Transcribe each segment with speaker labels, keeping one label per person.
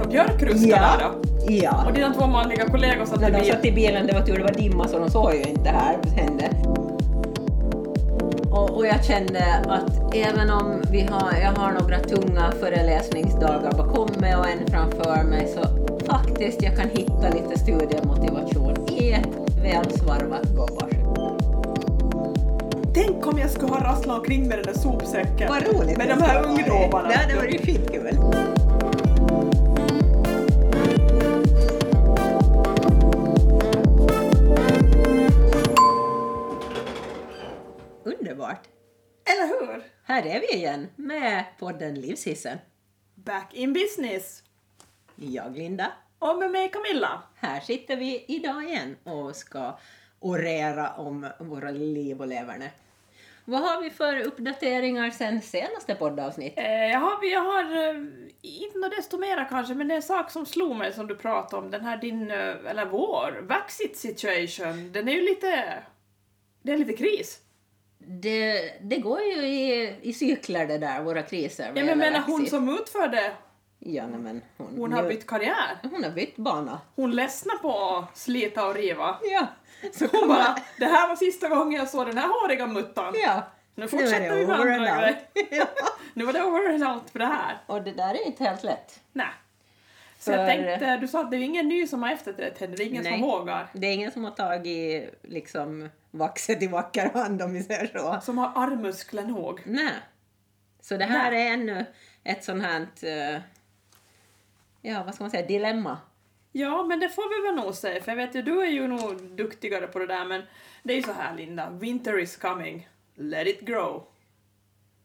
Speaker 1: Augusta där då.
Speaker 2: ja.
Speaker 1: Och dina två manliga kollegor satt i
Speaker 2: När de
Speaker 1: bilen.
Speaker 2: satt i bilen, det var tur det var dimma så de såg ju inte här vad hände. Och, och jag kände att även om vi har, jag har några tunga föreläsningsdagar bakom mig och en framför mig så faktiskt jag kan hitta lite studiemotivation i ett välsvarvat gobbar.
Speaker 3: Tänk om jag skulle ha rasslat omkring med den där sopsäcken.
Speaker 2: Vad roligt!
Speaker 3: Med
Speaker 2: det
Speaker 3: de här
Speaker 2: ska vara.
Speaker 3: ungdomarna.
Speaker 2: Ja, det var ju skitkul. Underbart!
Speaker 3: Eller hur?
Speaker 2: Här är vi igen med podden Livshissen.
Speaker 3: Back in business.
Speaker 2: Jag, Linda.
Speaker 3: Och med mig Camilla.
Speaker 2: Här sitter vi idag igen och ska orera om våra liv och leverne. Vad har vi för uppdateringar sen senaste poddavsnitt?
Speaker 3: Eh, jaha, vi har eh, inte något desto mera kanske, men det är en sak som slog mig som du pratade om. Den här din, eh, eller vår, vaxit situation. Den är ju lite... Det är lite kris.
Speaker 2: Det, det går ju i, i cyklar det där, våra kriser. vad
Speaker 3: Ja, men jag
Speaker 2: gäller
Speaker 3: menar hon
Speaker 2: Axis.
Speaker 3: som utförde,
Speaker 2: Ja, nej, men hon,
Speaker 3: hon har
Speaker 2: nu-
Speaker 3: bytt karriär.
Speaker 2: Hon har bytt bana.
Speaker 3: Hon ledsnar på att slita och riva.
Speaker 2: Ja. Så
Speaker 3: Hon bara, det här var sista gången jag såg den här håriga muttan.
Speaker 2: Ja.
Speaker 3: Nu fortsätter
Speaker 2: är det
Speaker 3: vi med
Speaker 2: over and
Speaker 3: andra
Speaker 2: out.
Speaker 3: grejer.
Speaker 2: ja.
Speaker 3: Nu var det over and out för det här.
Speaker 2: Och det där är inte helt lätt.
Speaker 3: Nej. Så
Speaker 2: För-
Speaker 3: jag tänkte, du sa att det är ingen ny som har efterträtt henne, det är ingen
Speaker 2: Nej.
Speaker 3: som vågar.
Speaker 2: Det är ingen som har tagit liksom vaxet i vacker hand om vi säger så.
Speaker 3: Som har armmusklen ihåg.
Speaker 2: Nej. Så det här är ännu ett sånt här, eh, ja vad ska man säga, dilemma.
Speaker 3: Ja, men det får vi väl nog säga, för jag vet ju, du är ju nog duktigare på det där, men det är ju så här Linda, winter is coming. Let it grow.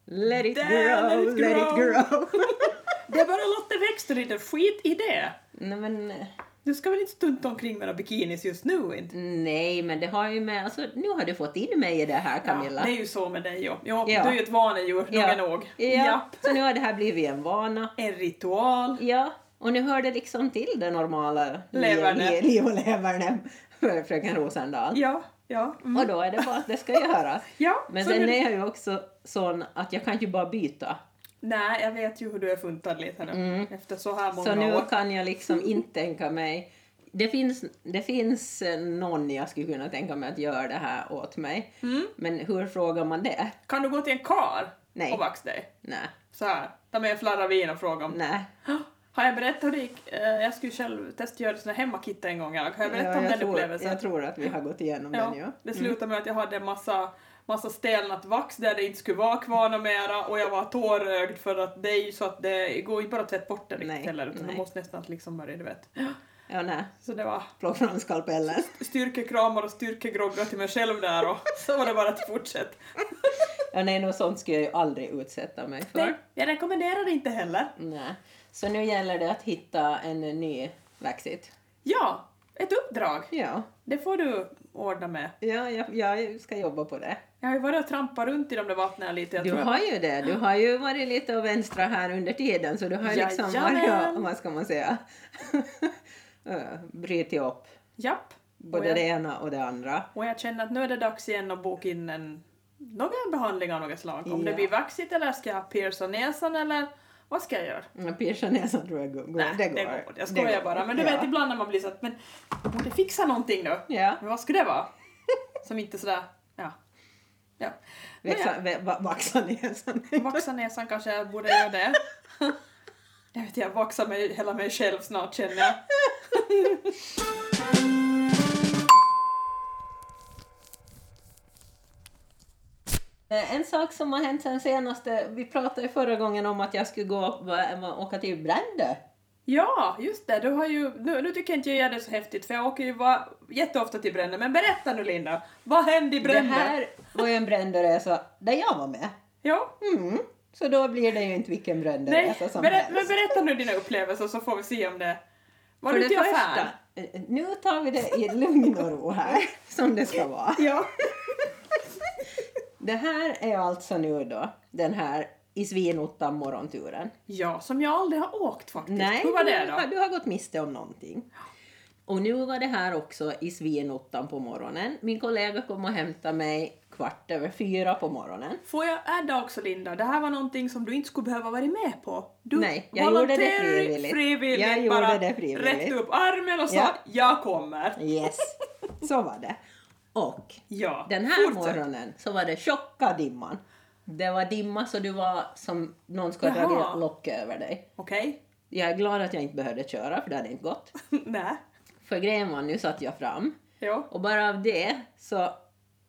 Speaker 2: Let it
Speaker 3: Damn,
Speaker 2: grow,
Speaker 3: let it
Speaker 2: let
Speaker 3: grow.
Speaker 2: it grow.
Speaker 3: Det är bara Lotte växter lite, skit i det.
Speaker 2: Nej men, eh,
Speaker 3: Du ska väl inte stunta omkring med några bikinis just nu inte?
Speaker 2: nej men det har ju med, alltså nu har du fått in mig i det här Camilla.
Speaker 3: Ja, det är ju så med dig ja. Ja,
Speaker 2: Ja.
Speaker 3: Du är ju ett vanedjur, nog är nog.
Speaker 2: Ja.
Speaker 3: Japp.
Speaker 2: Så nu har det här blivit en vana.
Speaker 3: En ritual.
Speaker 2: Ja. Och nu hör det liksom till det normala
Speaker 3: Leverne.
Speaker 2: li- liv och leverne för fröken Rosendal.
Speaker 3: Ja, ja. Mm.
Speaker 2: Och då är det bara att det ska göras.
Speaker 3: Ja,
Speaker 2: Men
Speaker 3: så
Speaker 2: sen
Speaker 3: nu-
Speaker 2: är jag ju också sån att jag kan ju bara byta.
Speaker 3: Nej, jag vet ju hur du är funtad lite nu. Efter så här många
Speaker 2: Mm. Så nu
Speaker 3: år.
Speaker 2: kan jag liksom inte tänka mig... Det finns, det finns eh, någon jag skulle kunna tänka mig att göra det här åt mig.
Speaker 3: Mm.
Speaker 2: Men hur frågar man det?
Speaker 3: Kan du gå till en kar
Speaker 2: Nej.
Speaker 3: och vaxa dig?
Speaker 2: Nej.
Speaker 3: Så här, ta med en flarra vin och fråga om...
Speaker 2: Nej.
Speaker 3: "Hå, Har jag berättat hur det gick? Eh, Jag skulle själv testgöra såna hemmakittar en gång. Jag. Har jag berättat om den
Speaker 2: tror,
Speaker 3: upplevelsen?
Speaker 2: jag tror att vi har gått igenom
Speaker 3: Ja,
Speaker 2: den ju. Mm.
Speaker 3: det slutade med att jag hade en massa, massa stelnat vax där det inte skulle vara kvar något mera och jag var tårögd för att det är ju så att det går ju bara att tvätta bort det riktigt
Speaker 2: Nej,
Speaker 3: heller utan
Speaker 2: nej.
Speaker 3: man måste nästan liksom börja, du vet.
Speaker 2: Ja, nej.
Speaker 3: Så det var
Speaker 2: Plocka fram skalpellen.
Speaker 3: styrkekramar och styrkegroggar till mig själv där och så var det bara att fortsätta.
Speaker 2: Ja, nej, något sånt skulle jag ju aldrig utsätta mig för.
Speaker 3: Nej, jag rekommenderar det inte heller.
Speaker 2: Nej. Så nu gäller det att hitta en ny vaxit.
Speaker 3: Ja, ett uppdrag.
Speaker 2: Ja,
Speaker 3: Det får du ordna med.
Speaker 2: ja jag, jag ska jobba på det.
Speaker 3: Jag har ju varit och trampat runt i de där vattnen lite. Jag
Speaker 2: Du
Speaker 3: tror jag-
Speaker 2: har ju det. Du har ju varit lite och vänstra här under tiden så du har ju liksom varit,
Speaker 3: Jajamän.
Speaker 2: och- vad ska man säga, eh, brutit upp
Speaker 3: Japp.
Speaker 2: både
Speaker 3: och, jag,
Speaker 2: det ena och det andra.
Speaker 3: och jag känner att nu är det dags igen att boka in en, några behandlingar av något slag. Om det
Speaker 2: Ja.
Speaker 3: blir vaxigt eller ska jag pierca näsan eller vad ska jag göra?
Speaker 2: Mm, Pierce näsan tror jag går. går-
Speaker 3: Nej,
Speaker 2: det går.
Speaker 3: Jag skojar
Speaker 2: går.
Speaker 3: bara. Men du
Speaker 2: ja.
Speaker 3: vet ibland när man blir så att men jag borde fixa någonting nu.
Speaker 2: Ja,
Speaker 3: Men vad skulle det vara? Som inte sådär, ja. ja. Men ja.
Speaker 2: växa, vä, va- vaxa näsan.
Speaker 3: Vaxa näsan kanske jag borde göra det. Jag vet inte, jag vaxar mig, hela mig själv snart känner jag.
Speaker 2: Eh, En sak som har hänt sen senaste, vi pratade ju förra gången om att jag skulle gå och och åka till Brändö.
Speaker 3: Ja, just det. Du har ju, nu, nu tycker jag inte jag gör det så häftigt för jag åker ju va, jätteofta till Brände. Men berätta nu Linda, vad hände i
Speaker 2: Det
Speaker 3: Brände?
Speaker 2: här var ju en Brändöresa där jag var med.
Speaker 3: Ja.
Speaker 2: Mm. Så då blir det ju inte vilken
Speaker 3: Nej,
Speaker 2: Brändöresa som
Speaker 3: berä,
Speaker 2: helst.
Speaker 3: men berätta nu dina upplevelser så får vi se om det... Var
Speaker 2: För
Speaker 3: du
Speaker 2: det
Speaker 3: till
Speaker 2: första,
Speaker 3: affären?
Speaker 2: eh, nu tar vi det i lugn och ro här, som det ska vara.
Speaker 3: Ja.
Speaker 2: Det här är alltså nu då den här i svinottan morgonturen.
Speaker 3: ja, som jag aldrig har åkt faktiskt.
Speaker 2: Nej,
Speaker 3: Hur var
Speaker 2: du,
Speaker 3: det
Speaker 2: har-
Speaker 3: då?
Speaker 2: du har gått miste om någonting. Och nu var det här också i svinottan på morgonen. Min kollega kom och hämtade mig kvart över fyra på morgonen.
Speaker 3: Får jag adda också Linda, det här var någonting som du inte skulle behöva vara med på. Du
Speaker 2: Nej, jag gjorde det
Speaker 3: volonterar
Speaker 2: frivilligt.
Speaker 3: frivilligt
Speaker 2: Jag gjorde
Speaker 3: bara
Speaker 2: det frivilligt.
Speaker 3: räckte upp armen och sa
Speaker 2: Ja.
Speaker 3: jag kommer.
Speaker 2: Yes, så var det. Och
Speaker 3: Ja,
Speaker 2: den här
Speaker 3: fortsätt.
Speaker 2: morgonen så var det tjocka dimman. Det var dimma så du var som någon skulle dra
Speaker 3: Jaha.
Speaker 2: ner locket över dig.
Speaker 3: Okej,
Speaker 2: Jag är glad att jag inte behövde köra för det hade inte gått.
Speaker 3: nej.
Speaker 2: För grejen var, nu satt jag fram
Speaker 3: Ja.
Speaker 2: och bara av det så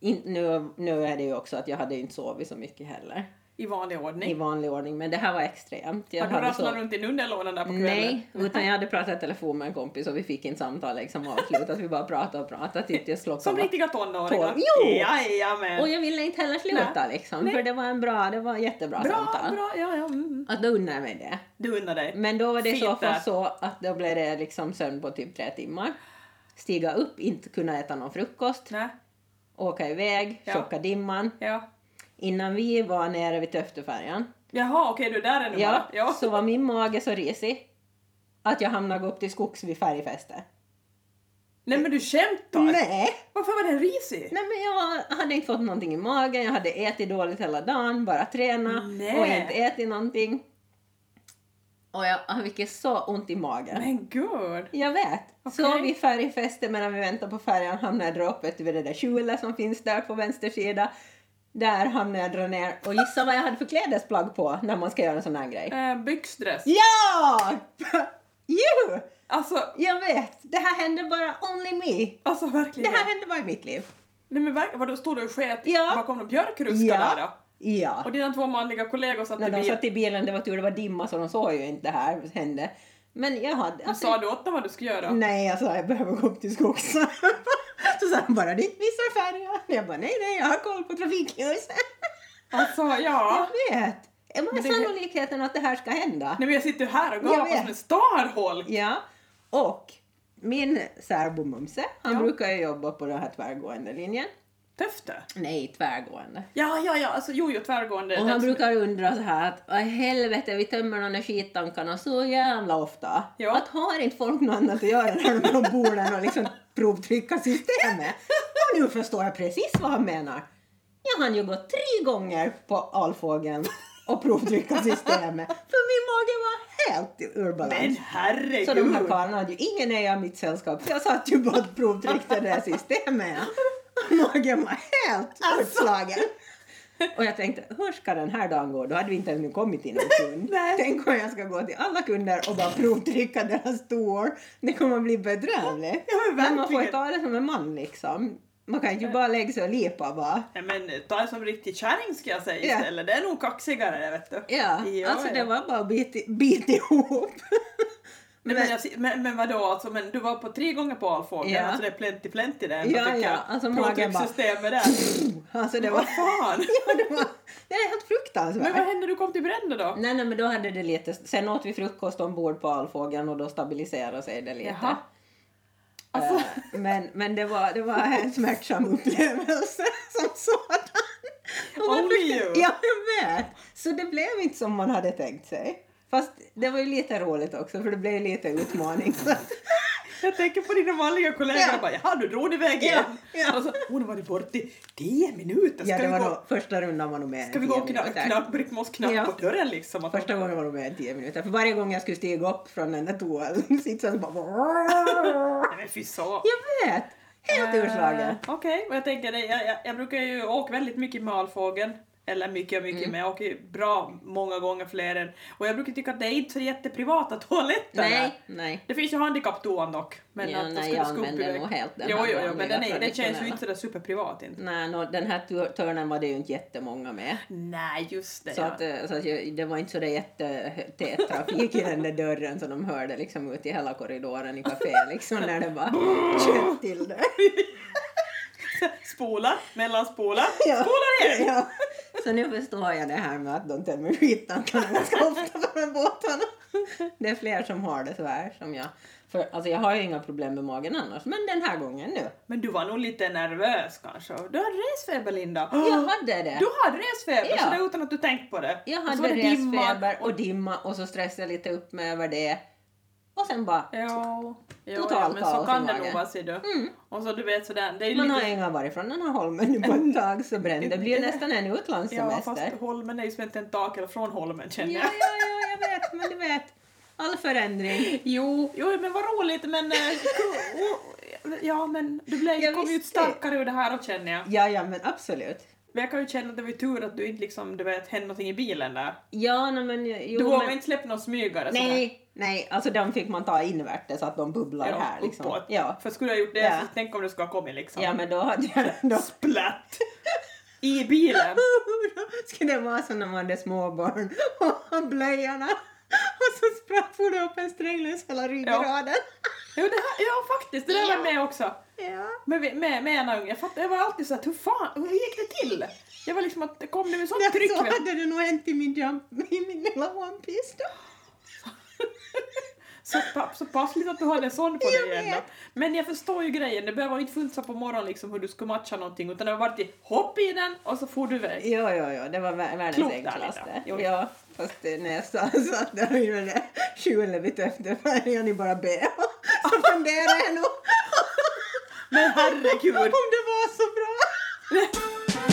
Speaker 2: in, nu, nu är det ju också att jag hade ju inte sovit så mycket heller
Speaker 3: I vanlig ordning.
Speaker 2: i vanlig ordning men det här var extremt. Jag
Speaker 3: Har du
Speaker 2: hade
Speaker 3: rasslat
Speaker 2: sovit-
Speaker 3: runt i nunnelådan där på kvällen?
Speaker 2: Nej, utan jag hade pratat i telefon med en kompis och vi fick inte samtal liksom avslutat. Vi bara pratade och pratade tills jag slockade.
Speaker 3: Som
Speaker 2: bara-
Speaker 3: riktiga tonåringar?
Speaker 2: Tolv. Jo!
Speaker 3: Jajamän!
Speaker 2: Och jag ville inte heller sluta liksom, för det var en bra, det var jättebra
Speaker 3: Bra,
Speaker 2: samtal.
Speaker 3: bra, ja, ja. Mm.
Speaker 2: Att då unnar jag mig det.
Speaker 3: Du unnar dig.
Speaker 2: Men då var det i så
Speaker 3: Fint där.
Speaker 2: fall så att då blev det liksom sömn på typ tre timmar. Stiga upp, inte kunna äta någon frukost,
Speaker 3: Nej,
Speaker 2: åka iväg,
Speaker 3: Ja.
Speaker 2: tjocka dimman.
Speaker 3: ja.
Speaker 2: Innan vi var nere vid Töftefärjan,
Speaker 3: Jaha, okej, du är där ännu
Speaker 2: ja,
Speaker 3: bara. Ja.
Speaker 2: så var min mage så risig att jag hamnade upp till skogs vid färgfästet.
Speaker 3: Nej men du skämtar!
Speaker 2: Nej!
Speaker 3: Varför var den risig?
Speaker 2: Nej men jag hade inte fått någonting i magen, jag hade ätit dåligt hela dagen, bara tränat
Speaker 3: Nej.
Speaker 2: och inte ätit någonting. Och jag fick så ont i magen.
Speaker 3: Men gud!
Speaker 2: Jag vet. Så
Speaker 3: Okej.
Speaker 2: vi färgfäste medan vi väntar på färjan hamnade jag dra upp vet du, vid det där kjolet som finns där på vänster sida. Där hamnade jag dra ner och gissa vad jag hade för klädesplagg på när man ska göra en sån här grej.
Speaker 3: Eh, byxdress.
Speaker 2: Ja! Juhu!
Speaker 3: Alltså,
Speaker 2: Jag vet. Det här händer bara only me.
Speaker 3: alltså
Speaker 2: Det
Speaker 3: verkligen.
Speaker 2: här händer bara i mitt liv.
Speaker 3: Nej men verkligen, vadå stod du och sket
Speaker 2: Ja.
Speaker 3: bakom någon björkruska där då?
Speaker 2: Ja.
Speaker 3: Och dina två manliga kollegor satt i
Speaker 2: När de
Speaker 3: bilen.
Speaker 2: satt i bilen, det var tur det var dimma så de såg ju inte det här hände. Men jag hade...
Speaker 3: Men Sa du åt dem vad du skulle göra?
Speaker 2: Nej, jag sa jag behöver gå upp till skogs. så sa han bara, du missar färjan. Jag bara, nej, nej, jag har koll på trafikljuset.
Speaker 3: Alltså ja.
Speaker 2: Jag vet. Är man
Speaker 3: Men det-
Speaker 2: sannolikheten att det här ska hända?
Speaker 3: Nej men jag sitter ju här och
Speaker 2: Jag
Speaker 3: gapar
Speaker 2: vet.
Speaker 3: som en starholk.
Speaker 2: Ja. Och min särbo Mumse, han
Speaker 3: Ja.
Speaker 2: brukar ju jobba på den här tvärgående linjen.
Speaker 3: Töfte.
Speaker 2: Nej, tvärgående.
Speaker 3: Ja, ja, ja, alltså jojo tvärgående.
Speaker 2: Och
Speaker 3: den
Speaker 2: han
Speaker 3: som-
Speaker 2: brukar undra så här att "Åh, helvete, vi tömmer de där skittankarna så jävla ofta.
Speaker 3: Ja.
Speaker 2: Att har inte folk något annat att göra när de är ombord än att liksom provtrycka systemet? Och nu förstår jag precis vad han menar. Jag hann ju gå tre gånger på alfågeln och provtrycka systemet för min mage var helt ur
Speaker 3: Men
Speaker 2: balans.
Speaker 3: herregud!
Speaker 2: Så de här karlarna hade ju ingen nöje av mitt sällskap så jag satt ju bara och provtryckte det här systemet. Och Magen var helt
Speaker 3: Alltså.
Speaker 2: utslagen. Och jag tänkte, hur ska den här dagen gå? Då hade vi inte ännu kommit till någon kund.
Speaker 3: Nej.
Speaker 2: Tänk om jag ska gå till alla kunder och bara provtrycka deras stor. Det kommer bli bedrövligt.
Speaker 3: Ja, men
Speaker 2: Men man får ju
Speaker 3: verkligen.
Speaker 2: ta det som en man liksom. Man kan ju inte bara lägga sig och lepa bara.
Speaker 3: Ja, men ta det som riktig kärring ska jag säga
Speaker 2: Ja.
Speaker 3: istället. Det är nog kaxigare det vet du.
Speaker 2: Ja,
Speaker 3: Ja,
Speaker 2: alltså
Speaker 3: ja.
Speaker 2: det var bara bit, bit ihop.
Speaker 3: Nej, men, jag, men, men vadå alltså, men du var på tre gånger på alfågeln,
Speaker 2: Ja.
Speaker 3: alltså det är plenty plenty där ändå
Speaker 2: Ja,
Speaker 3: tycker
Speaker 2: ja,
Speaker 3: jag.
Speaker 2: alltså magen bara-
Speaker 3: Provtryckssystemet där.
Speaker 2: Alltså det var...
Speaker 3: Vad fan?
Speaker 2: Ja, det var... Det är helt fruktansvärt.
Speaker 3: Men vad hände när du kom till Brände då?
Speaker 2: Nej, nej, men då hade det lite... Sen åt vi frukost ombord på Alfågeln och då stabiliserade sig det lite.
Speaker 3: Jaha. Alltså,
Speaker 2: Eh, Men, men det, var, det var en smärtsam upplevelse som sådan. Och man
Speaker 3: Only
Speaker 2: försökte-
Speaker 3: you.
Speaker 2: Ja, jag vet. Så det blev inte som man hade tänkt sig. Fast det var ju lite roligt också för det blev ju lite utmaning. Så att-
Speaker 3: jag tänker på dina vanliga kollegor
Speaker 2: Ja.
Speaker 3: och bara jaha du drog iväg
Speaker 2: Ja,
Speaker 3: igen.
Speaker 2: ja.
Speaker 3: Alltså, hon har varit borta i tio minuter. Ska
Speaker 2: ja, det
Speaker 3: vi
Speaker 2: var
Speaker 3: gå,
Speaker 2: då, första rundan var nog med
Speaker 3: ska vi gå och knacka knack, Britt Mås knack
Speaker 2: Ja.
Speaker 3: på dörren liksom? Att
Speaker 2: Första gången var det med 10 minuter. För varje gång jag skulle stiga upp från den där toasitsen så bara...
Speaker 3: Nej men fy så.
Speaker 2: Jag vet! Helt urslagen.
Speaker 3: Eh, Okej, och jag tänker det, jag, jag, jag brukar ju åka väldigt mycket med alfågeln. Eller mycket och
Speaker 2: Mm.
Speaker 3: mycket, men jag åker ju bra många gånger fler än... Och jag brukar tycka att det är inte så jätteprivata toaletterna.
Speaker 2: Nej, nej.
Speaker 3: Det finns ju handikapptoan dock. Men
Speaker 2: Ja,
Speaker 3: att då
Speaker 2: nej,
Speaker 3: ska
Speaker 2: jag
Speaker 3: du ska upp
Speaker 2: använder
Speaker 3: iväg.
Speaker 2: nog helt den
Speaker 3: Jo,
Speaker 2: här
Speaker 3: jo, jo, men
Speaker 2: vanliga
Speaker 3: den, är, den känns ju
Speaker 2: traditionella.
Speaker 3: inte sådär superprivat inte.
Speaker 2: Nej, nå, den här tur- törnen var det ju inte jättemånga med.
Speaker 3: Nej, just det.
Speaker 2: Mm. Så,
Speaker 3: ja.
Speaker 2: att, eh, så att jag, det var inte så där jättetät trafik i den där dörren så de hörde liksom ut i hela korridoren i kaféet liksom när det bara kött till det.
Speaker 3: Spola, mellanspola,
Speaker 2: Ja.
Speaker 3: spola igen!
Speaker 2: Ja. Så nu förstår jag det här med att de tömmer skittankarna ganska ofta från båtarna. Det är fler som har det tyvärr som jag. För, alltså jag har ju inga problem med magen annars men den här gången nu.
Speaker 3: Men du var nog lite nervös kanske. Du hade resfeber, Linda.
Speaker 2: Jag hade det.
Speaker 3: Du hade resfeber,
Speaker 2: Ja.
Speaker 3: sådär utan att du tänkt på Alltså, det.
Speaker 2: Jag
Speaker 3: Och så var
Speaker 2: hade
Speaker 3: det dimma.
Speaker 2: resfeber och dimma och så stressade jag lite upp mig över det. och sen bara...
Speaker 3: Ja, ja,
Speaker 2: Total
Speaker 3: ja men
Speaker 2: kaos
Speaker 3: så
Speaker 2: i
Speaker 3: kan det
Speaker 2: magen.
Speaker 3: nog vara ser du.
Speaker 2: Mm.
Speaker 3: Och så du vet sådär, det är ju
Speaker 2: Man har
Speaker 3: lite...
Speaker 2: inga varit från den här holmen nu på ett tag så brände. Det blir ju nästan en
Speaker 3: Ja
Speaker 2: utlandssemester.
Speaker 3: fast Holmen är ju som ett tentakel från Holmen
Speaker 2: Ja,
Speaker 3: känner jag.
Speaker 2: ja, ja, jag vet, men du vet. All förändring.
Speaker 3: Jo, jo men vad roligt men... eh, ko- o- Ja men du blev,
Speaker 2: Jag
Speaker 3: kom ju ut
Speaker 2: visste.
Speaker 3: starkare ur det här känner jag.
Speaker 2: Ja, ja, men absolut.
Speaker 3: Men jag kan ju känna att det var ju tur att du inte liksom, du vet, hände någonting i bilen där.
Speaker 2: Ja, nej, men jo,
Speaker 3: du vågar
Speaker 2: men...
Speaker 3: inte släppa någon smygare sådär.
Speaker 2: Nej, nej, alltså de fick man ta invärtes så att de bubblar
Speaker 3: Ja,
Speaker 2: här liksom.
Speaker 3: uppåt.
Speaker 2: Ja.
Speaker 3: För skulle jag gjort det,
Speaker 2: Ja.
Speaker 3: så tänk om du skulle ha kommit liksom.
Speaker 2: ja, men då hade jag... Då...
Speaker 3: Splatt! I bilen.
Speaker 2: skulle det vara som när man hade småbarn och ha blöjorna och så sprack for det upp en sträng längs hela ryggraden.
Speaker 3: Jo, det här, ja faktiskt, det där var med också.
Speaker 2: Ja.
Speaker 3: Men vi- med, med ena ungen, jag, fattade, jag var alltid såhär, hur fan, hur gick det till? Jag var liksom att, kom det med sånt tryck?
Speaker 2: Så
Speaker 3: vet du?
Speaker 2: hade det nog hänt i min, jump, i min lilla One Piece då.
Speaker 3: Så, pa- så passligt att du hade en sån på
Speaker 2: Jag
Speaker 3: dig
Speaker 2: vet.
Speaker 3: ändå. Men jag förstår ju grejen, det behöver inte funsa på morgonen liksom hur du ska matcha någonting utan det var bara till hopp i den och så får du iväg.
Speaker 2: Jo, jo, jo, det var vär- världens
Speaker 3: Klokt,
Speaker 2: enklaste.
Speaker 3: Anita. Jo.
Speaker 2: Ja, fast eh, när jag sa- satt där och gjorde det hjulet vet du, efter varje jag ni bara be. Så funderade jag nog
Speaker 3: Men herregud!
Speaker 2: om det var så bra.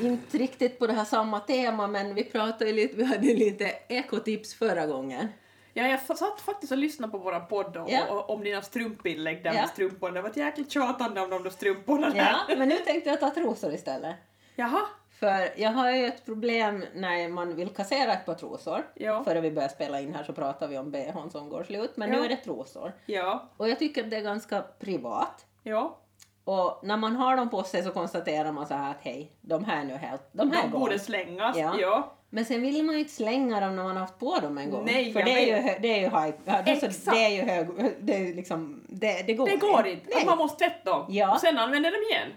Speaker 2: Inte riktigt på det här samma tema men vi pratade ju lite, vi hade lite ekotips förra gången.
Speaker 3: Ja, jag f- satt faktiskt och lyssnade på våran podd och,
Speaker 2: Ja.
Speaker 3: och, om dina strumpinlägg där
Speaker 2: Ja.
Speaker 3: med strumporna. Det var ett jäkligt tjatande om de där strumporna där.
Speaker 2: Ja, men nu tänkte jag ta trosor istället.
Speaker 3: Jaha,
Speaker 2: För jag har ju ett problem när man vill kassera ett par trosor.
Speaker 3: Ja.
Speaker 2: Före vi börjar spela in här så pratar vi om bhn som går slut, men nu
Speaker 3: Ja.
Speaker 2: är det trosor.
Speaker 3: ja,
Speaker 2: Och jag tycker att det är ganska privat.
Speaker 3: ja.
Speaker 2: Och när man har dem på sig så konstaterar man så här att hej, de här är nu helt, de här
Speaker 3: De
Speaker 2: går.
Speaker 3: borde slängas.
Speaker 2: Ja.
Speaker 3: Ja.
Speaker 2: Men sen vill man ju inte slänga dem när man har haft på dem en gång.
Speaker 3: Nej,
Speaker 2: För
Speaker 3: jag
Speaker 2: det är, ju,
Speaker 3: vet.
Speaker 2: hö- det är ju hype, alltså,
Speaker 3: Exakt.
Speaker 2: det är ju hög, det är ju liksom, det, det går
Speaker 3: Det går inte.
Speaker 2: Nej.
Speaker 3: Man måste tvätta dem.
Speaker 2: Ja.
Speaker 3: Och sen använder dem igen.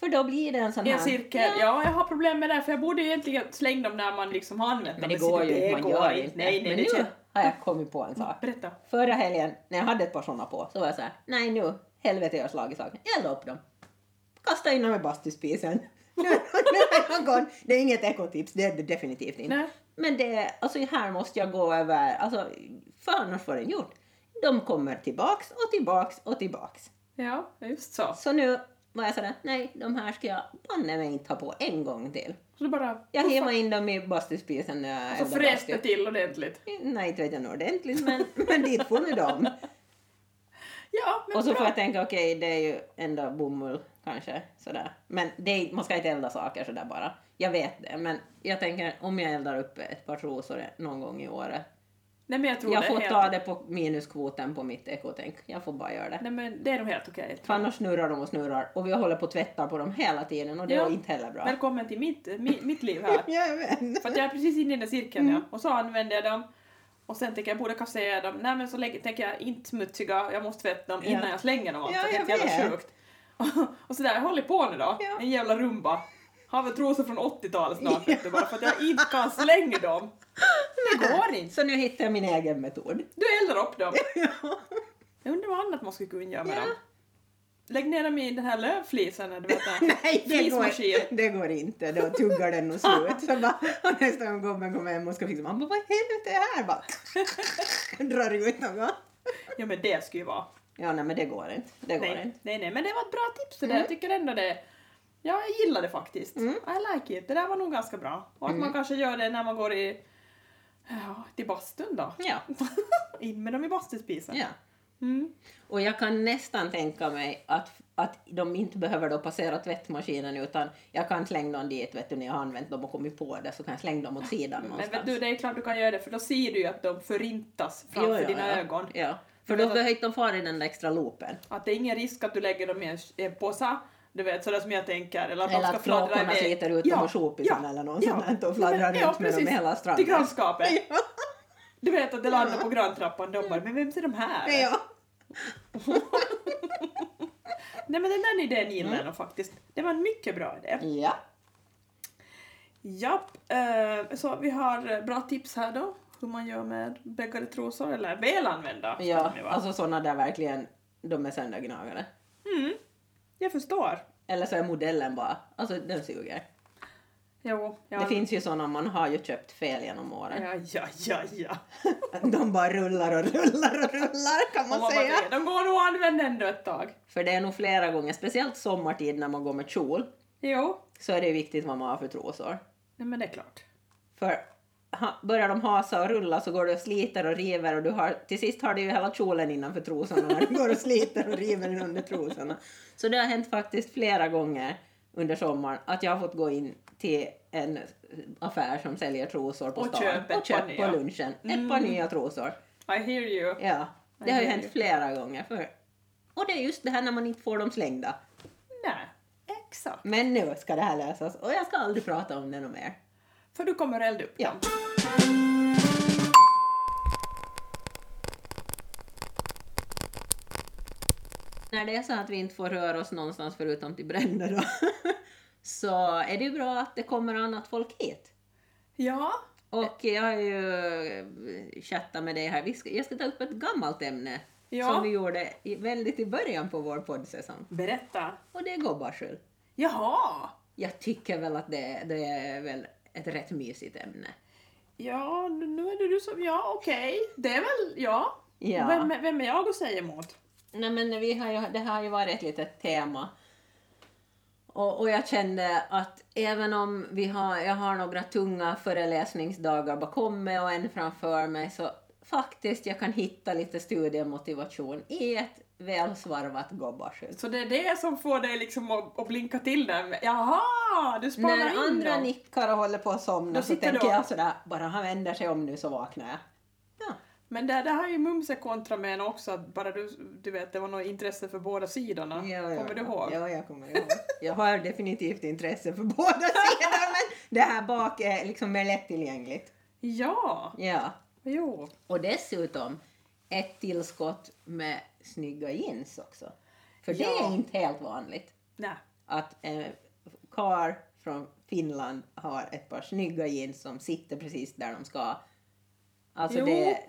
Speaker 2: För då blir det en sån
Speaker 3: I
Speaker 2: här...
Speaker 3: en cirkel. Ja. jag har problem med det här, för jag borde ju egentligen slänga dem när man liksom har använt
Speaker 2: Men
Speaker 3: dem.
Speaker 2: det går ju
Speaker 3: det
Speaker 2: inte, man
Speaker 3: går
Speaker 2: gör ju inte.
Speaker 3: Nej, nej,
Speaker 2: Men
Speaker 3: det
Speaker 2: nu
Speaker 3: känns...
Speaker 2: har jag kommit på en sak.
Speaker 3: Berätta.
Speaker 2: Förra helgen när jag hade ett par såna på så var jag så här, nej nu, helvete jag har slagit saken. Jag la upp dem. Kasta in dem i bastuspisen. Nu nu är de gone. det är inget ekotips, det är det definitivt inte.
Speaker 3: Nej.
Speaker 2: Men det, alltså här måste jag gå över, alltså för annars får den gjort. De kommer tillbaks och tillbaks och tillbaks.
Speaker 3: Ja, just så.
Speaker 2: Så nu var jag sådär, nej de här ska jag banne mig inte ha på en gång till.
Speaker 3: Så du bara...
Speaker 2: Jag hivar in dem i bastuspisen när jag
Speaker 3: Så
Speaker 2: eldar
Speaker 3: fräs
Speaker 2: bastu.
Speaker 3: det till ordentligt.
Speaker 2: Nej, inte vet jag nog ordentligt men, men dit får nu dem.
Speaker 3: Ja, men
Speaker 2: Och så
Speaker 3: bra.
Speaker 2: får jag tänka, okej det är ju ändå bomull kanske. Sådär. Men det är, man ska inte elda saker sådär bara. Jag vet det, men jag tänker om jag eldar upp ett par trosor någon gång i året.
Speaker 3: Nej, men jag tror
Speaker 2: Jag
Speaker 3: det
Speaker 2: får
Speaker 3: är helt...
Speaker 2: ta det på minuskvoten på mitt ekotänk. Jag får bara göra det.
Speaker 3: Nej, men det är nog helt okej.
Speaker 2: För annars snurrar de och snurrar och vi håller på och tvättar på dem hela tiden och det
Speaker 3: Ja.
Speaker 2: är inte heller bra.
Speaker 3: Välkommen till mitt, mi, mitt liv här.
Speaker 2: Jag vet.
Speaker 3: För att jag är precis inne i den cirkeln
Speaker 2: Mm.
Speaker 3: ja. Och så använder jag dem. Och sen tänker jag, borde kassera dem. Nej men så lägger, tänker jag, inte smutsiga, jag måste tvätta dem
Speaker 2: Ja.
Speaker 3: innan jag slänger dem alltså.
Speaker 2: Ja, jag
Speaker 3: Helt jävla
Speaker 2: vet.
Speaker 3: sjukt. Och sådär, jag håller på nu då.
Speaker 2: Ja.
Speaker 3: En jävla rumba. Har väl trosor från 80-talet snart vet du, bara för att jag inte kan slänga dem. Det går inte.
Speaker 2: Så nu hittar jag min egen metod.
Speaker 3: Du eldar upp dem. Jag undrar vad annat man skulle kunna göra med
Speaker 2: Ja.
Speaker 3: dem. Lägg ner dem i den här lövflisen, du vet den här
Speaker 2: Nej, det går,
Speaker 3: flismaskin.
Speaker 2: det går inte. Då tuggar den och slut. Så bara, och nästa gång kommer man hem och ska fixa. Man bara, vad i helvete är det här? Bara, drar ut något.
Speaker 3: Ja men det skulle ju vara.
Speaker 2: Ja, nej men det går inte. Det går
Speaker 3: Nej,
Speaker 2: inte.
Speaker 3: nej, nej, men det var ett bra tips det där.
Speaker 2: Mm.
Speaker 3: Jag tycker ändå det. Ja, jag gillar det faktiskt.
Speaker 2: Mm.
Speaker 3: I like it. Det där var nog ganska bra. Och att man kanske gör det när man går i, ja, till bastun då.
Speaker 2: Ja.
Speaker 3: In med dem i bastuspisen.
Speaker 2: ja.
Speaker 3: Mm.
Speaker 2: Och jag kan nästan tänka mig att, att de inte behöver då passera tvättmaskinen utan jag kan slänga dem dit vet du, när jag har använt dem och kommit på det så kan jag slänga dem åt sidan
Speaker 3: Men
Speaker 2: någonstans.
Speaker 3: vet du, det är klart du kan göra det för då ser du ju att de förintas
Speaker 2: Jo,
Speaker 3: framför
Speaker 2: ja,
Speaker 3: dina
Speaker 2: ja.
Speaker 3: ögon.
Speaker 2: Ja. För
Speaker 3: Men
Speaker 2: då
Speaker 3: vet-
Speaker 2: behöver inte de fara i den där extra loopen.
Speaker 3: Att det är ingen risk att du lägger dem i en, i en påse, du vet sådär som jag tänker. Eller att,
Speaker 2: Eller
Speaker 3: de
Speaker 2: att
Speaker 3: ska fladdra
Speaker 2: flakorna
Speaker 3: iväg.
Speaker 2: sliter ut dem och shopisarna eller något sånt där och fladdrar
Speaker 3: Ja, men- ja,
Speaker 2: runt med dem
Speaker 3: precis.
Speaker 2: hela stranden.
Speaker 3: Till grannskapet. Du vet att det landar på granntrappan, de bara men vem är de här?
Speaker 2: Ja.
Speaker 3: Nej men den där
Speaker 2: Mm.
Speaker 3: idén gillar jag nog faktiskt. Det var en mycket bra idé.
Speaker 2: ja.
Speaker 3: Japp, eh, så vi har eh, bra tips här då. Hur man gör med bäggade trosor, eller välanvända.
Speaker 2: Ja,
Speaker 3: ska de ju vara.
Speaker 2: alltså sådana där verkligen, de är söndergnagare.
Speaker 3: mm, jag förstår.
Speaker 2: Eller så är modellen bara, alltså den suger.
Speaker 3: Jo, ja.
Speaker 2: Det finns ju sådana, man har ju köpt fel genom åren.
Speaker 3: Ja, ja, ja, ja.
Speaker 2: De bara rullar och rullar och rullar kan
Speaker 3: Och
Speaker 2: man säga.
Speaker 3: bara, De går nog att använda ändå ett tag.
Speaker 2: För det är nog flera gånger, speciellt sommartid när man går med kjol,
Speaker 3: Jo,
Speaker 2: så är det viktigt vad man har för trosor.
Speaker 3: nej men det är klart.
Speaker 2: För ha, börjar de hasa och rulla så går du och sliter och river och du har, till sist har du ju hela kjolen innanför trosorna när du går och sliter och river den under trosorna. Så det har hänt faktiskt flera gånger under sommaren att jag har fått gå in till en affär som säljer trosor på
Speaker 3: Och
Speaker 2: stan
Speaker 3: köpa ett
Speaker 2: och köpa
Speaker 3: par
Speaker 2: på
Speaker 3: nya.
Speaker 2: lunchen ett par nya trosor.
Speaker 3: I hear you.
Speaker 2: Ja, det har
Speaker 3: det
Speaker 2: ju
Speaker 3: är
Speaker 2: hänt
Speaker 3: ju-
Speaker 2: flera gånger för. Och det är just det här när man inte får dem slängda.
Speaker 3: Nej, exakt.
Speaker 2: Men nu ska det här lösas och jag ska aldrig prata om det något mer.
Speaker 3: För du kommer elda upp
Speaker 2: Ja.
Speaker 3: dem.
Speaker 2: När det är så att vi inte får röra oss någonstans förutom till bränder då, så är det ju bra att det kommer annat folk hit.
Speaker 3: Ja,
Speaker 2: Och jag har ju eh, chattat med dig här. Vi ska, jag ska ta upp ett gammalt ämne
Speaker 3: Ja.
Speaker 2: som vi gjorde i, väldigt i början på vår poddsäsong.
Speaker 3: berätta.
Speaker 2: Och det är gobbarskyll.
Speaker 3: Jaha.
Speaker 2: Jag tycker väl att det, det är väl ett rätt mysigt ämne.
Speaker 3: Ja, nu- nu är det du som... Ja, okej. Det är väl... Ja.
Speaker 2: Ja.
Speaker 3: Vem, är- vem är jag att säga emot?
Speaker 2: Nej, men vi har ju, det har ju varit ett litet tema. Och, och jag kände att även om vi har, jag har några tunga föreläsningsdagar bakom mig och en framför mig så faktiskt jag kan hitta lite studiemotivation i ett välsvarvat gobbarskydd.
Speaker 3: Så det är det som får dig liksom att, att blinka till den. Jaha, du spanar in
Speaker 2: När andra
Speaker 3: dem.
Speaker 2: nickar och håller på att somna
Speaker 3: Då
Speaker 2: så
Speaker 3: sitter du
Speaker 2: tänker
Speaker 3: och-
Speaker 2: jag sådär, bara han vänder sig om nu så vaknar jag. Ja.
Speaker 3: Men det, det här är ju Mumse kontra med en också, att bara du, du vet, det var något intresse för båda sidorna. Kommer du ihåg?
Speaker 2: Ja, jag kommer ihåg. Jag har definitivt intresse för båda sidor men det här bak är liksom mer lättillgängligt.
Speaker 3: Ja,
Speaker 2: Ja.
Speaker 3: jo.
Speaker 2: Och dessutom ett tillskott med snygga jeans också. För det
Speaker 3: Ja.
Speaker 2: är inte helt vanligt
Speaker 3: Nej.
Speaker 2: att en karl från Finland har ett par snygga jeans som sitter precis där de ska. Alltså
Speaker 3: Jo.
Speaker 2: det,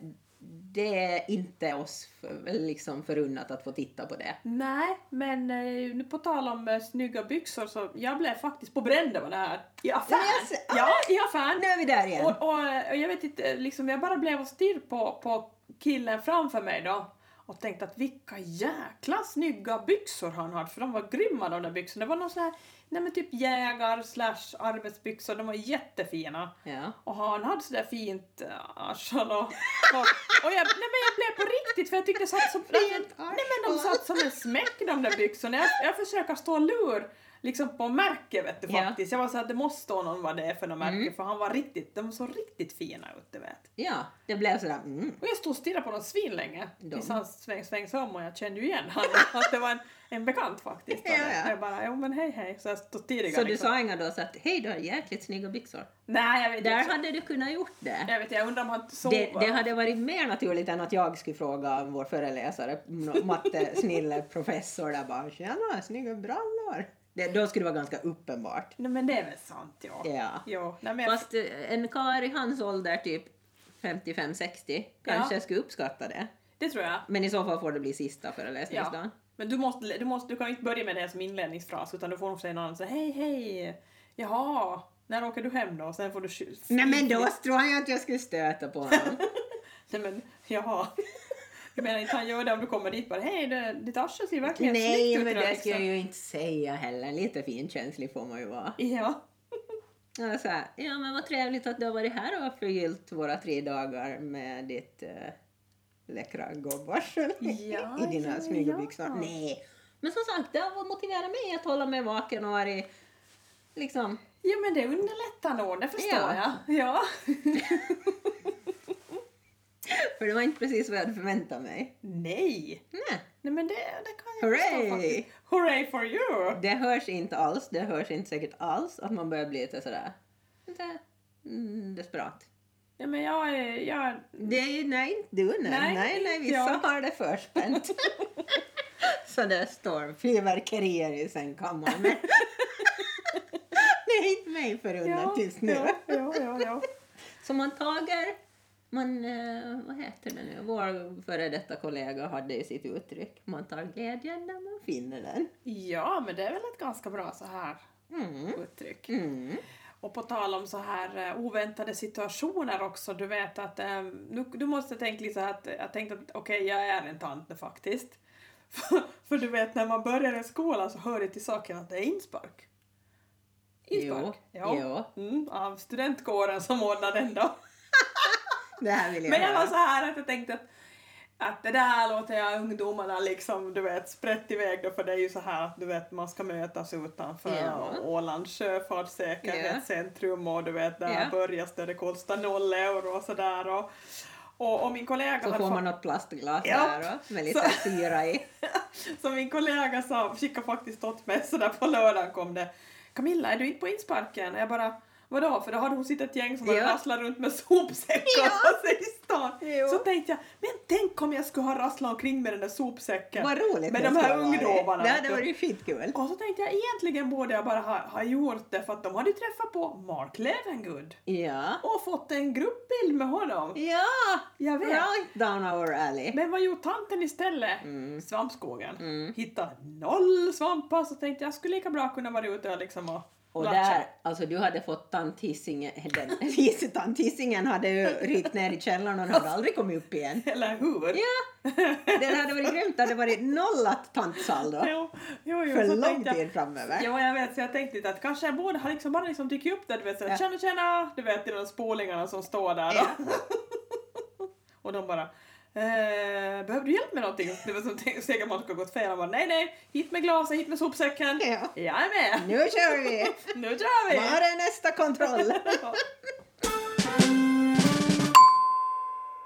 Speaker 2: det är inte oss för, liksom förunnat att få titta på det.
Speaker 3: Nej, men eh, nu på tal om eh, snygga byxor så jag blev faktiskt på bränder med det här. I affären!
Speaker 2: Nej, jag ser- Ah!
Speaker 3: Ja, i affären!
Speaker 2: Nu är vi där igen.
Speaker 3: Och, och, eh, jag vet inte, liksom, jag bara blev och stirr på, på killen framför mig då och tänkte att vilka jäkla snygga byxor han har för de var grymma de där byxorna. Det var någon sån här, nej men typ jägar slash arbetsbyxor, de var jättefina.
Speaker 2: Ja.
Speaker 3: Och han hade sådär fint eh, arsel och, och, och jag, nej men jag blev på riktigt för jag tyckte det satt som,
Speaker 2: Fint arsel.
Speaker 3: nej men de satt som en smäck de där byxorna. Jag, jag försöker stå lur liksom på märke vet du
Speaker 2: Ja. Mm.
Speaker 3: faktiskt. Jag var såhär det måste stå någon vad det är för något märke för han var riktigt, de såg riktigt fina ut du vet.
Speaker 2: Ja, det blev sådär mm.
Speaker 3: Och jag stod och stirrade på dem svinlänge
Speaker 2: De.
Speaker 3: tills han sväng, svängs om och jag kände ju igen han, att det var en, en bekant faktiskt.
Speaker 2: Ja, ja.
Speaker 3: Jag bara jo men hej hej. Så jag stod tidigare liksom.
Speaker 2: Så du sa inga då så att hej du har jäkligt snygga byxor.
Speaker 3: Nej jag vet
Speaker 2: Där
Speaker 3: inte.
Speaker 2: hade du kunnat gjort det.
Speaker 3: Jag vet jag undrar om han sov.
Speaker 2: Det, det hade varit mer naturligt än att jag skulle fråga vår föreläsare, nå- mattesnille professor där bara “tjena, snygga brallor”. Det, då skulle det vara ganska uppenbart.
Speaker 3: Nej men det är väl sant ja.
Speaker 2: Ja.
Speaker 3: Jo, nej, men jag,
Speaker 2: Fast eh, en karl i hans ålder, typ 55-60, kanske
Speaker 3: Ja.
Speaker 2: skulle uppskatta det.
Speaker 3: det tror jag.
Speaker 2: Men i så fall får det bli sista
Speaker 3: Ja.
Speaker 2: föreläsningsdagen.
Speaker 3: Men du, måste, du, måste, du kan inte börja med det som inledningsfras utan du får nog säga någon annan så hej hej, jaha, när åker du hem då? Och sen får du... tju-
Speaker 2: Nej men då tror jag att jag skulle stöta på honom.
Speaker 3: Nej men jaha. Jag menar inte han gör det om du kommer dit bara hej det, ditt arsel ser verkligen
Speaker 2: Nej,
Speaker 3: snyggt
Speaker 2: men
Speaker 3: ut. idag,
Speaker 2: det ska jag
Speaker 3: liksom."
Speaker 2: ju inte säga heller. Lite finkänslig får man ju vara.
Speaker 3: Ja.
Speaker 2: Ja, så här, ja men vad trevligt att du har varit här och har förgyllt våra tre dagar med ditt eh, läckra gobbarsel
Speaker 3: Ja,
Speaker 2: i dina
Speaker 3: ja,
Speaker 2: snygga
Speaker 3: ja.
Speaker 2: byxor. Nej. Men som sagt, det har motiverat mig att hålla mig vaken och varit liksom...
Speaker 3: ja men det underlättar nog, det förstår
Speaker 2: Ja.
Speaker 3: jag. Ja.
Speaker 2: För det var inte precis vad jag hade förväntat mig.
Speaker 3: Nej.
Speaker 2: Nej,
Speaker 3: Nej men det, det kan jag
Speaker 2: Hooray!
Speaker 3: förstå faktiskt. Hooray for you!
Speaker 2: det hörs inte alls. Det hörs inte säkert alls att man börjar bli lite sådär... Lite mm, desperat.
Speaker 3: Ja men jag är, jag är
Speaker 2: Det är ju, nej, inte du nej. Nej,
Speaker 3: Nej,
Speaker 2: nej, vissa
Speaker 3: jag.
Speaker 2: har det förspänt. Så det står fyrverkerier i sängkammaren. Men det är inte mig förunnat just nu.
Speaker 3: Ja, ja, ja, ja.
Speaker 2: Så man tager, man, eh, vad heter det nu, vår före detta kollega hade ju sitt uttryck. Man tar glädjen när man finner den.
Speaker 3: ja, men det är väl ett ganska bra så här
Speaker 2: Mm.
Speaker 3: uttryck.
Speaker 2: Mm.
Speaker 3: Och på tal om så här eh, oväntade situationer också, du vet att eh, nu, du måste tänka lite så här att eh, jag tänkte att okej, jag är en tante faktiskt. För, för du vet när man börjar i skolan så hör det till saken att det är inspark.
Speaker 2: Jo,
Speaker 3: Inspark?
Speaker 2: jo.
Speaker 3: Mm, av studentkåren som ordnar den då.
Speaker 2: Det här vill jag
Speaker 3: Men jag var
Speaker 2: höra.
Speaker 3: så här att jag tänkte att, att det där låter jag ungdomarna liksom, du vet, sprätt iväg då för det är ju så här att du vet man ska mötas utanför
Speaker 2: Ja.
Speaker 3: Ålands sjöfartssäkerhetscentrum och du vet där
Speaker 2: Ja.
Speaker 3: börjas det, det kostar noll euro och sådär och, och, och min kollega
Speaker 2: Så
Speaker 3: hade
Speaker 2: får
Speaker 3: fått-
Speaker 2: man något plastglas
Speaker 3: Ja.
Speaker 2: där och med lite
Speaker 3: Så-
Speaker 2: syra i.
Speaker 3: Som min kollega sa, skickade faktiskt åt mig sådär på lördagen kom det Camilla, är du inte på insparken? Jag bara Vadå? För då hade hon sett ett gäng som hade
Speaker 2: Ja.
Speaker 3: rasslat runt med sopsäckar
Speaker 2: Ja.
Speaker 3: på sig i stan.
Speaker 2: Jo.
Speaker 3: Så tänkte jag, men tänk om jag skulle ha rasslat omkring med den där sopsäcken.
Speaker 2: Vad roligt
Speaker 3: Med
Speaker 2: det
Speaker 3: de här
Speaker 2: skulle ha varit.
Speaker 3: ungdomarna,
Speaker 2: Det
Speaker 3: vet
Speaker 2: hade
Speaker 3: du.
Speaker 2: varit skitkul.
Speaker 3: Och så tänkte jag, egentligen borde jag bara ha, ha gjort det för att de hade ju träffat på Mark Levengood
Speaker 2: Ja.
Speaker 3: och fått en gruppbild med honom.
Speaker 2: Ja!
Speaker 3: Jag vet.
Speaker 2: Right down our alley.
Speaker 3: Men vad gjorde tanten istället?
Speaker 2: Mm.
Speaker 3: Svampskogen.
Speaker 2: Mm.
Speaker 3: Hittade noll svampar så tänkte jag, jag skulle lika bra kunna vara ute och liksom och,
Speaker 2: Och
Speaker 3: latcha.
Speaker 2: där, alltså du hade fått tantissingen, den vice tantissingen hade ju rykt ner i källaren och den hade aldrig kommit upp igen.
Speaker 3: Eller hur?
Speaker 2: Ja, den hade varit grymt, det hade varit nollat tantsaldo
Speaker 3: Jo, jo, jo,
Speaker 2: för
Speaker 3: så
Speaker 2: lång
Speaker 3: tänkte jag-
Speaker 2: tid framöver.
Speaker 3: Ja, jag vet, så jag tänkte lite att kanske jag borde ha liksom bara liksom dykt upp där, du vet, så här,
Speaker 2: Ja.
Speaker 3: tjena tjena, du vet, till de där spålingarna som står där. då. och de bara, eh, behöver du hjälp med någonting? Det var som te- segermatchen har gått fel. Han bara, nej nej, hit med glasen, hit med sopsäcken.
Speaker 2: Ja.
Speaker 3: Jag är med,
Speaker 2: Nu kör vi!
Speaker 3: nu kör vi!
Speaker 2: Var är nästa kontroll?
Speaker 3: Ja.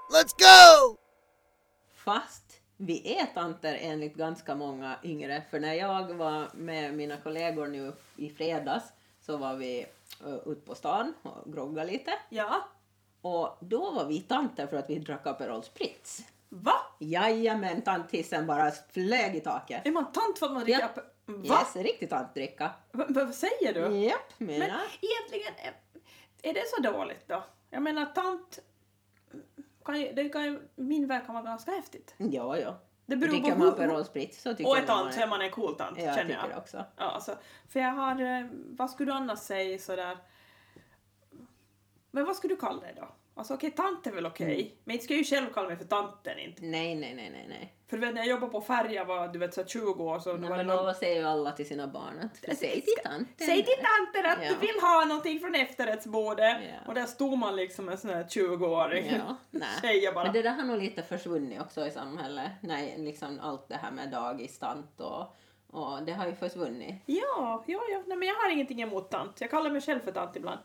Speaker 4: Let's go!
Speaker 2: Fast vi är tanter enligt ganska många yngre. För när jag var med mina kollegor nu i fredags så var vi eh, ute på stan och groggade lite.
Speaker 3: ja,
Speaker 2: Och då var vi tanter för att vi drack Aperol Spritz.
Speaker 3: va?
Speaker 2: Jajamän, tantissen bara flög i taket.
Speaker 3: Är man tant för att man dricker
Speaker 2: Ja.
Speaker 3: ape- Va?
Speaker 2: Yes, riktigt tantdricka.
Speaker 3: Va- va- Vad säger du?
Speaker 2: Japp,
Speaker 3: Men
Speaker 2: mina.
Speaker 3: egentligen, är- är det så dåligt då? Jag menar tant, kan ju, det kan ju, min värld kan vara ganska häftigt.
Speaker 2: Ja, ja.
Speaker 3: Det beror
Speaker 2: Dricker
Speaker 3: på
Speaker 2: man
Speaker 3: hur-
Speaker 2: Aperol Spritz så tycker
Speaker 3: Och
Speaker 2: jag
Speaker 3: är
Speaker 2: nog
Speaker 3: tant så är man en cool tant,
Speaker 2: Ja, jag
Speaker 3: känner
Speaker 2: tycker
Speaker 3: jag.
Speaker 2: det också.
Speaker 3: Ja, alltså, för jag har, eh, vad skulle du annars säga sådär, men vad skulle du kalla dig då? Alltså okej, tant är väl okej,
Speaker 2: Mm.
Speaker 3: men inte ska jag ju själv kalla mig för tanten inte.
Speaker 2: Nej, nej, nej, nej, nej.
Speaker 3: För du vet, när jag jobbade på färja var du vet så här 20 år så då
Speaker 2: Nej,
Speaker 3: var det
Speaker 2: men
Speaker 3: någon
Speaker 2: vad säger ju alla till sina barn? Att för Säg till tanten.
Speaker 3: Säg till tanten att
Speaker 2: Ja.
Speaker 3: du vill ha någonting från efterrättsbordet.
Speaker 2: Ja.
Speaker 3: Och där stod man liksom en sån här 20-åring.
Speaker 2: Ja, nej.
Speaker 3: Tjejer bara.
Speaker 2: Men det där har nog lite försvunnit också i samhället. Nej, liksom allt det här med dagistant och, och det har ju försvunnit.
Speaker 3: Ja, ja, ja. Nej, men jag har ingenting emot tant. Jag kallar mig själv för tant ibland.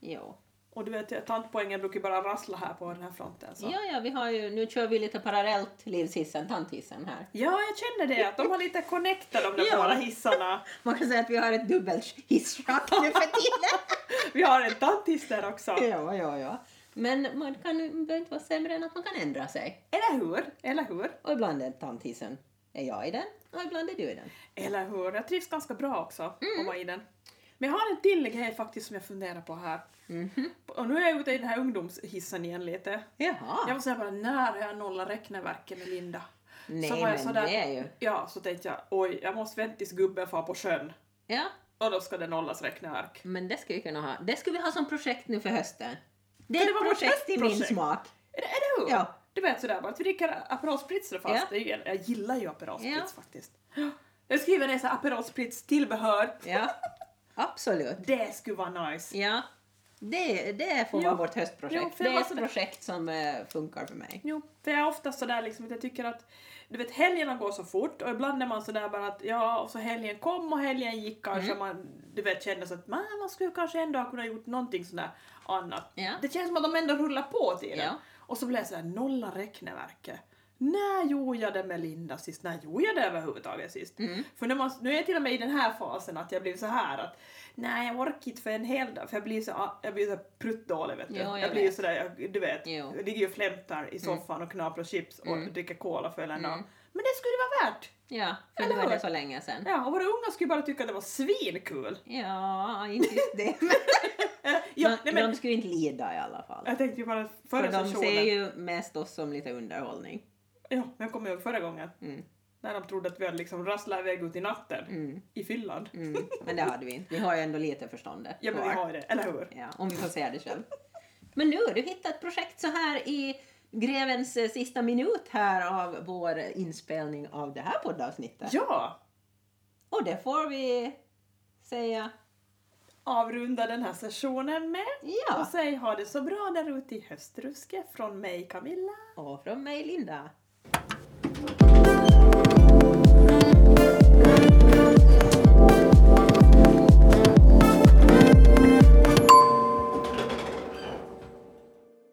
Speaker 2: Jo.
Speaker 3: Och du vet, jag- tantpoängen brukar ju bara rassla här på den här fronten. Så.
Speaker 2: Ja, ja, vi har ju, nu kör vi lite parallellt livshissen, tanthissen här.
Speaker 3: Ja, jag känner det. Att de har lite connectat de där
Speaker 2: Ja.
Speaker 3: båda hisarna.
Speaker 2: Man kan säga att vi har ett dubbelt hissschakt nu för tiden.
Speaker 3: Vi har en tanthiss där också.
Speaker 2: ja, ja, ja. Men man kan man behöver inte vara sämre än att man kan ändra sig.
Speaker 3: Eller hur? Eller hur?
Speaker 2: Och ibland är tanthissen är jag i den och ibland är du i den.
Speaker 3: Eller hur? Jag trivs ganska bra också
Speaker 2: Mm.
Speaker 3: att vara i den. Men jag har en till grej faktiskt som jag funderar på här.
Speaker 2: Mhm.
Speaker 3: Och nu är jag ute i den här ungdomshissen igen lite.
Speaker 2: Jaha.
Speaker 3: Jag var såhär bara, när har jag nollat räkneverket med Linda?
Speaker 2: Nej,
Speaker 3: så var jag
Speaker 2: men
Speaker 3: sådär,
Speaker 2: det är ju-
Speaker 3: Ja, så tänkte jag, oj, jag måste vänta tills gubben far på sjön.
Speaker 2: Ja,
Speaker 3: Och då ska det nollas räkneverk.
Speaker 2: men det skulle vi kunna ha. Det skulle vi ha som projekt nu för hösten. Det
Speaker 3: Kan
Speaker 2: är
Speaker 3: det
Speaker 2: ett
Speaker 3: vara vårt
Speaker 2: projekt i min
Speaker 3: höstprojekt?
Speaker 2: smak.
Speaker 3: Är det, är det hur?
Speaker 2: Ja.
Speaker 3: Du vet sådär bara, att vi dricker Aperol Spritz då fast.
Speaker 2: Ja.
Speaker 3: Det är ju, en- jag gillar ju Aperol Spritz
Speaker 2: Ja.
Speaker 3: faktiskt. Jag skriver det såhär, Aperol Spritz tillbehör.
Speaker 2: Ja, absolut.
Speaker 3: Det skulle vara nice.
Speaker 2: Ja. Det, det får
Speaker 3: Jo.
Speaker 2: vara vårt höstprojekt.
Speaker 3: Jo, för jag
Speaker 2: det är
Speaker 3: var
Speaker 2: ett
Speaker 3: sådär-
Speaker 2: projekt som eh, funkar för mig.
Speaker 3: Jo, för jag är ofta sådär liksom att jag tycker att du vet helgerna går så fort och ibland är man sådär bara att ja, och så helgen kom och helgen gick kanske
Speaker 2: Mm.
Speaker 3: man du vet känner så att man, man skulle kanske ändå ha kunnat gjort någonting sådär annat.
Speaker 2: Ja.
Speaker 3: Det känns som att de ändå rullar på tiden.
Speaker 2: Ja.
Speaker 3: Och så blir jag sådär nolla räkneverket. När gjorde jag det med Linda sist? När gjorde jag det överhuvudtaget sist?
Speaker 2: Mm.
Speaker 3: För nu, måste, nu är jag till och med i den här fasen att jag blir så här att nej jag orkar inte för en hel dag för jag blir så, jag blir så pruttdålig vet du.
Speaker 2: Jo, jag
Speaker 3: blir ju
Speaker 2: vet.
Speaker 3: sådär, jag, du vet,
Speaker 2: Jo. Mm.
Speaker 3: jag ligger ju och flämtar i soffan och knaprar chips och dricker cola för hela dagen. Men det skulle det vara värt!
Speaker 2: Ja, för
Speaker 3: Eller
Speaker 2: nu är det
Speaker 3: hur?
Speaker 2: så länge sedan.
Speaker 3: Ja, och våra unga skulle bara tycka att det var svinkul.
Speaker 2: Ja, inte just det. Men,
Speaker 3: Eh, Ja, nej,
Speaker 2: de, de
Speaker 3: men,
Speaker 2: skulle inte lida i alla fall.
Speaker 3: jag tänkte ju bara förra
Speaker 2: För de
Speaker 3: sessionen.
Speaker 2: ser ju mest oss som lite underhållning.
Speaker 3: Ja, men jag kommer ihåg förra gången.
Speaker 2: Mm.
Speaker 3: När de trodde att vi hade liksom rasslat iväg ut i natten
Speaker 2: Mm,
Speaker 3: i fyllan.
Speaker 2: mm. Men det hade vi inte. Vi har ju ändå lite förståndet
Speaker 3: Ja men vi
Speaker 2: kvar.
Speaker 3: har ju det, eller hur?
Speaker 2: Ja, om vi får säga det själv. Men nu har du hittat ett projekt så här i grevens eh, sista minut här av vår inspelning av det här poddavsnittet.
Speaker 3: Ja!
Speaker 2: Och det får vi säga
Speaker 3: Avrunda den här sessionen med och
Speaker 2: ja.
Speaker 3: säg ha det så bra där ute i höstruske från mig Camilla.
Speaker 2: Och från mig Linda.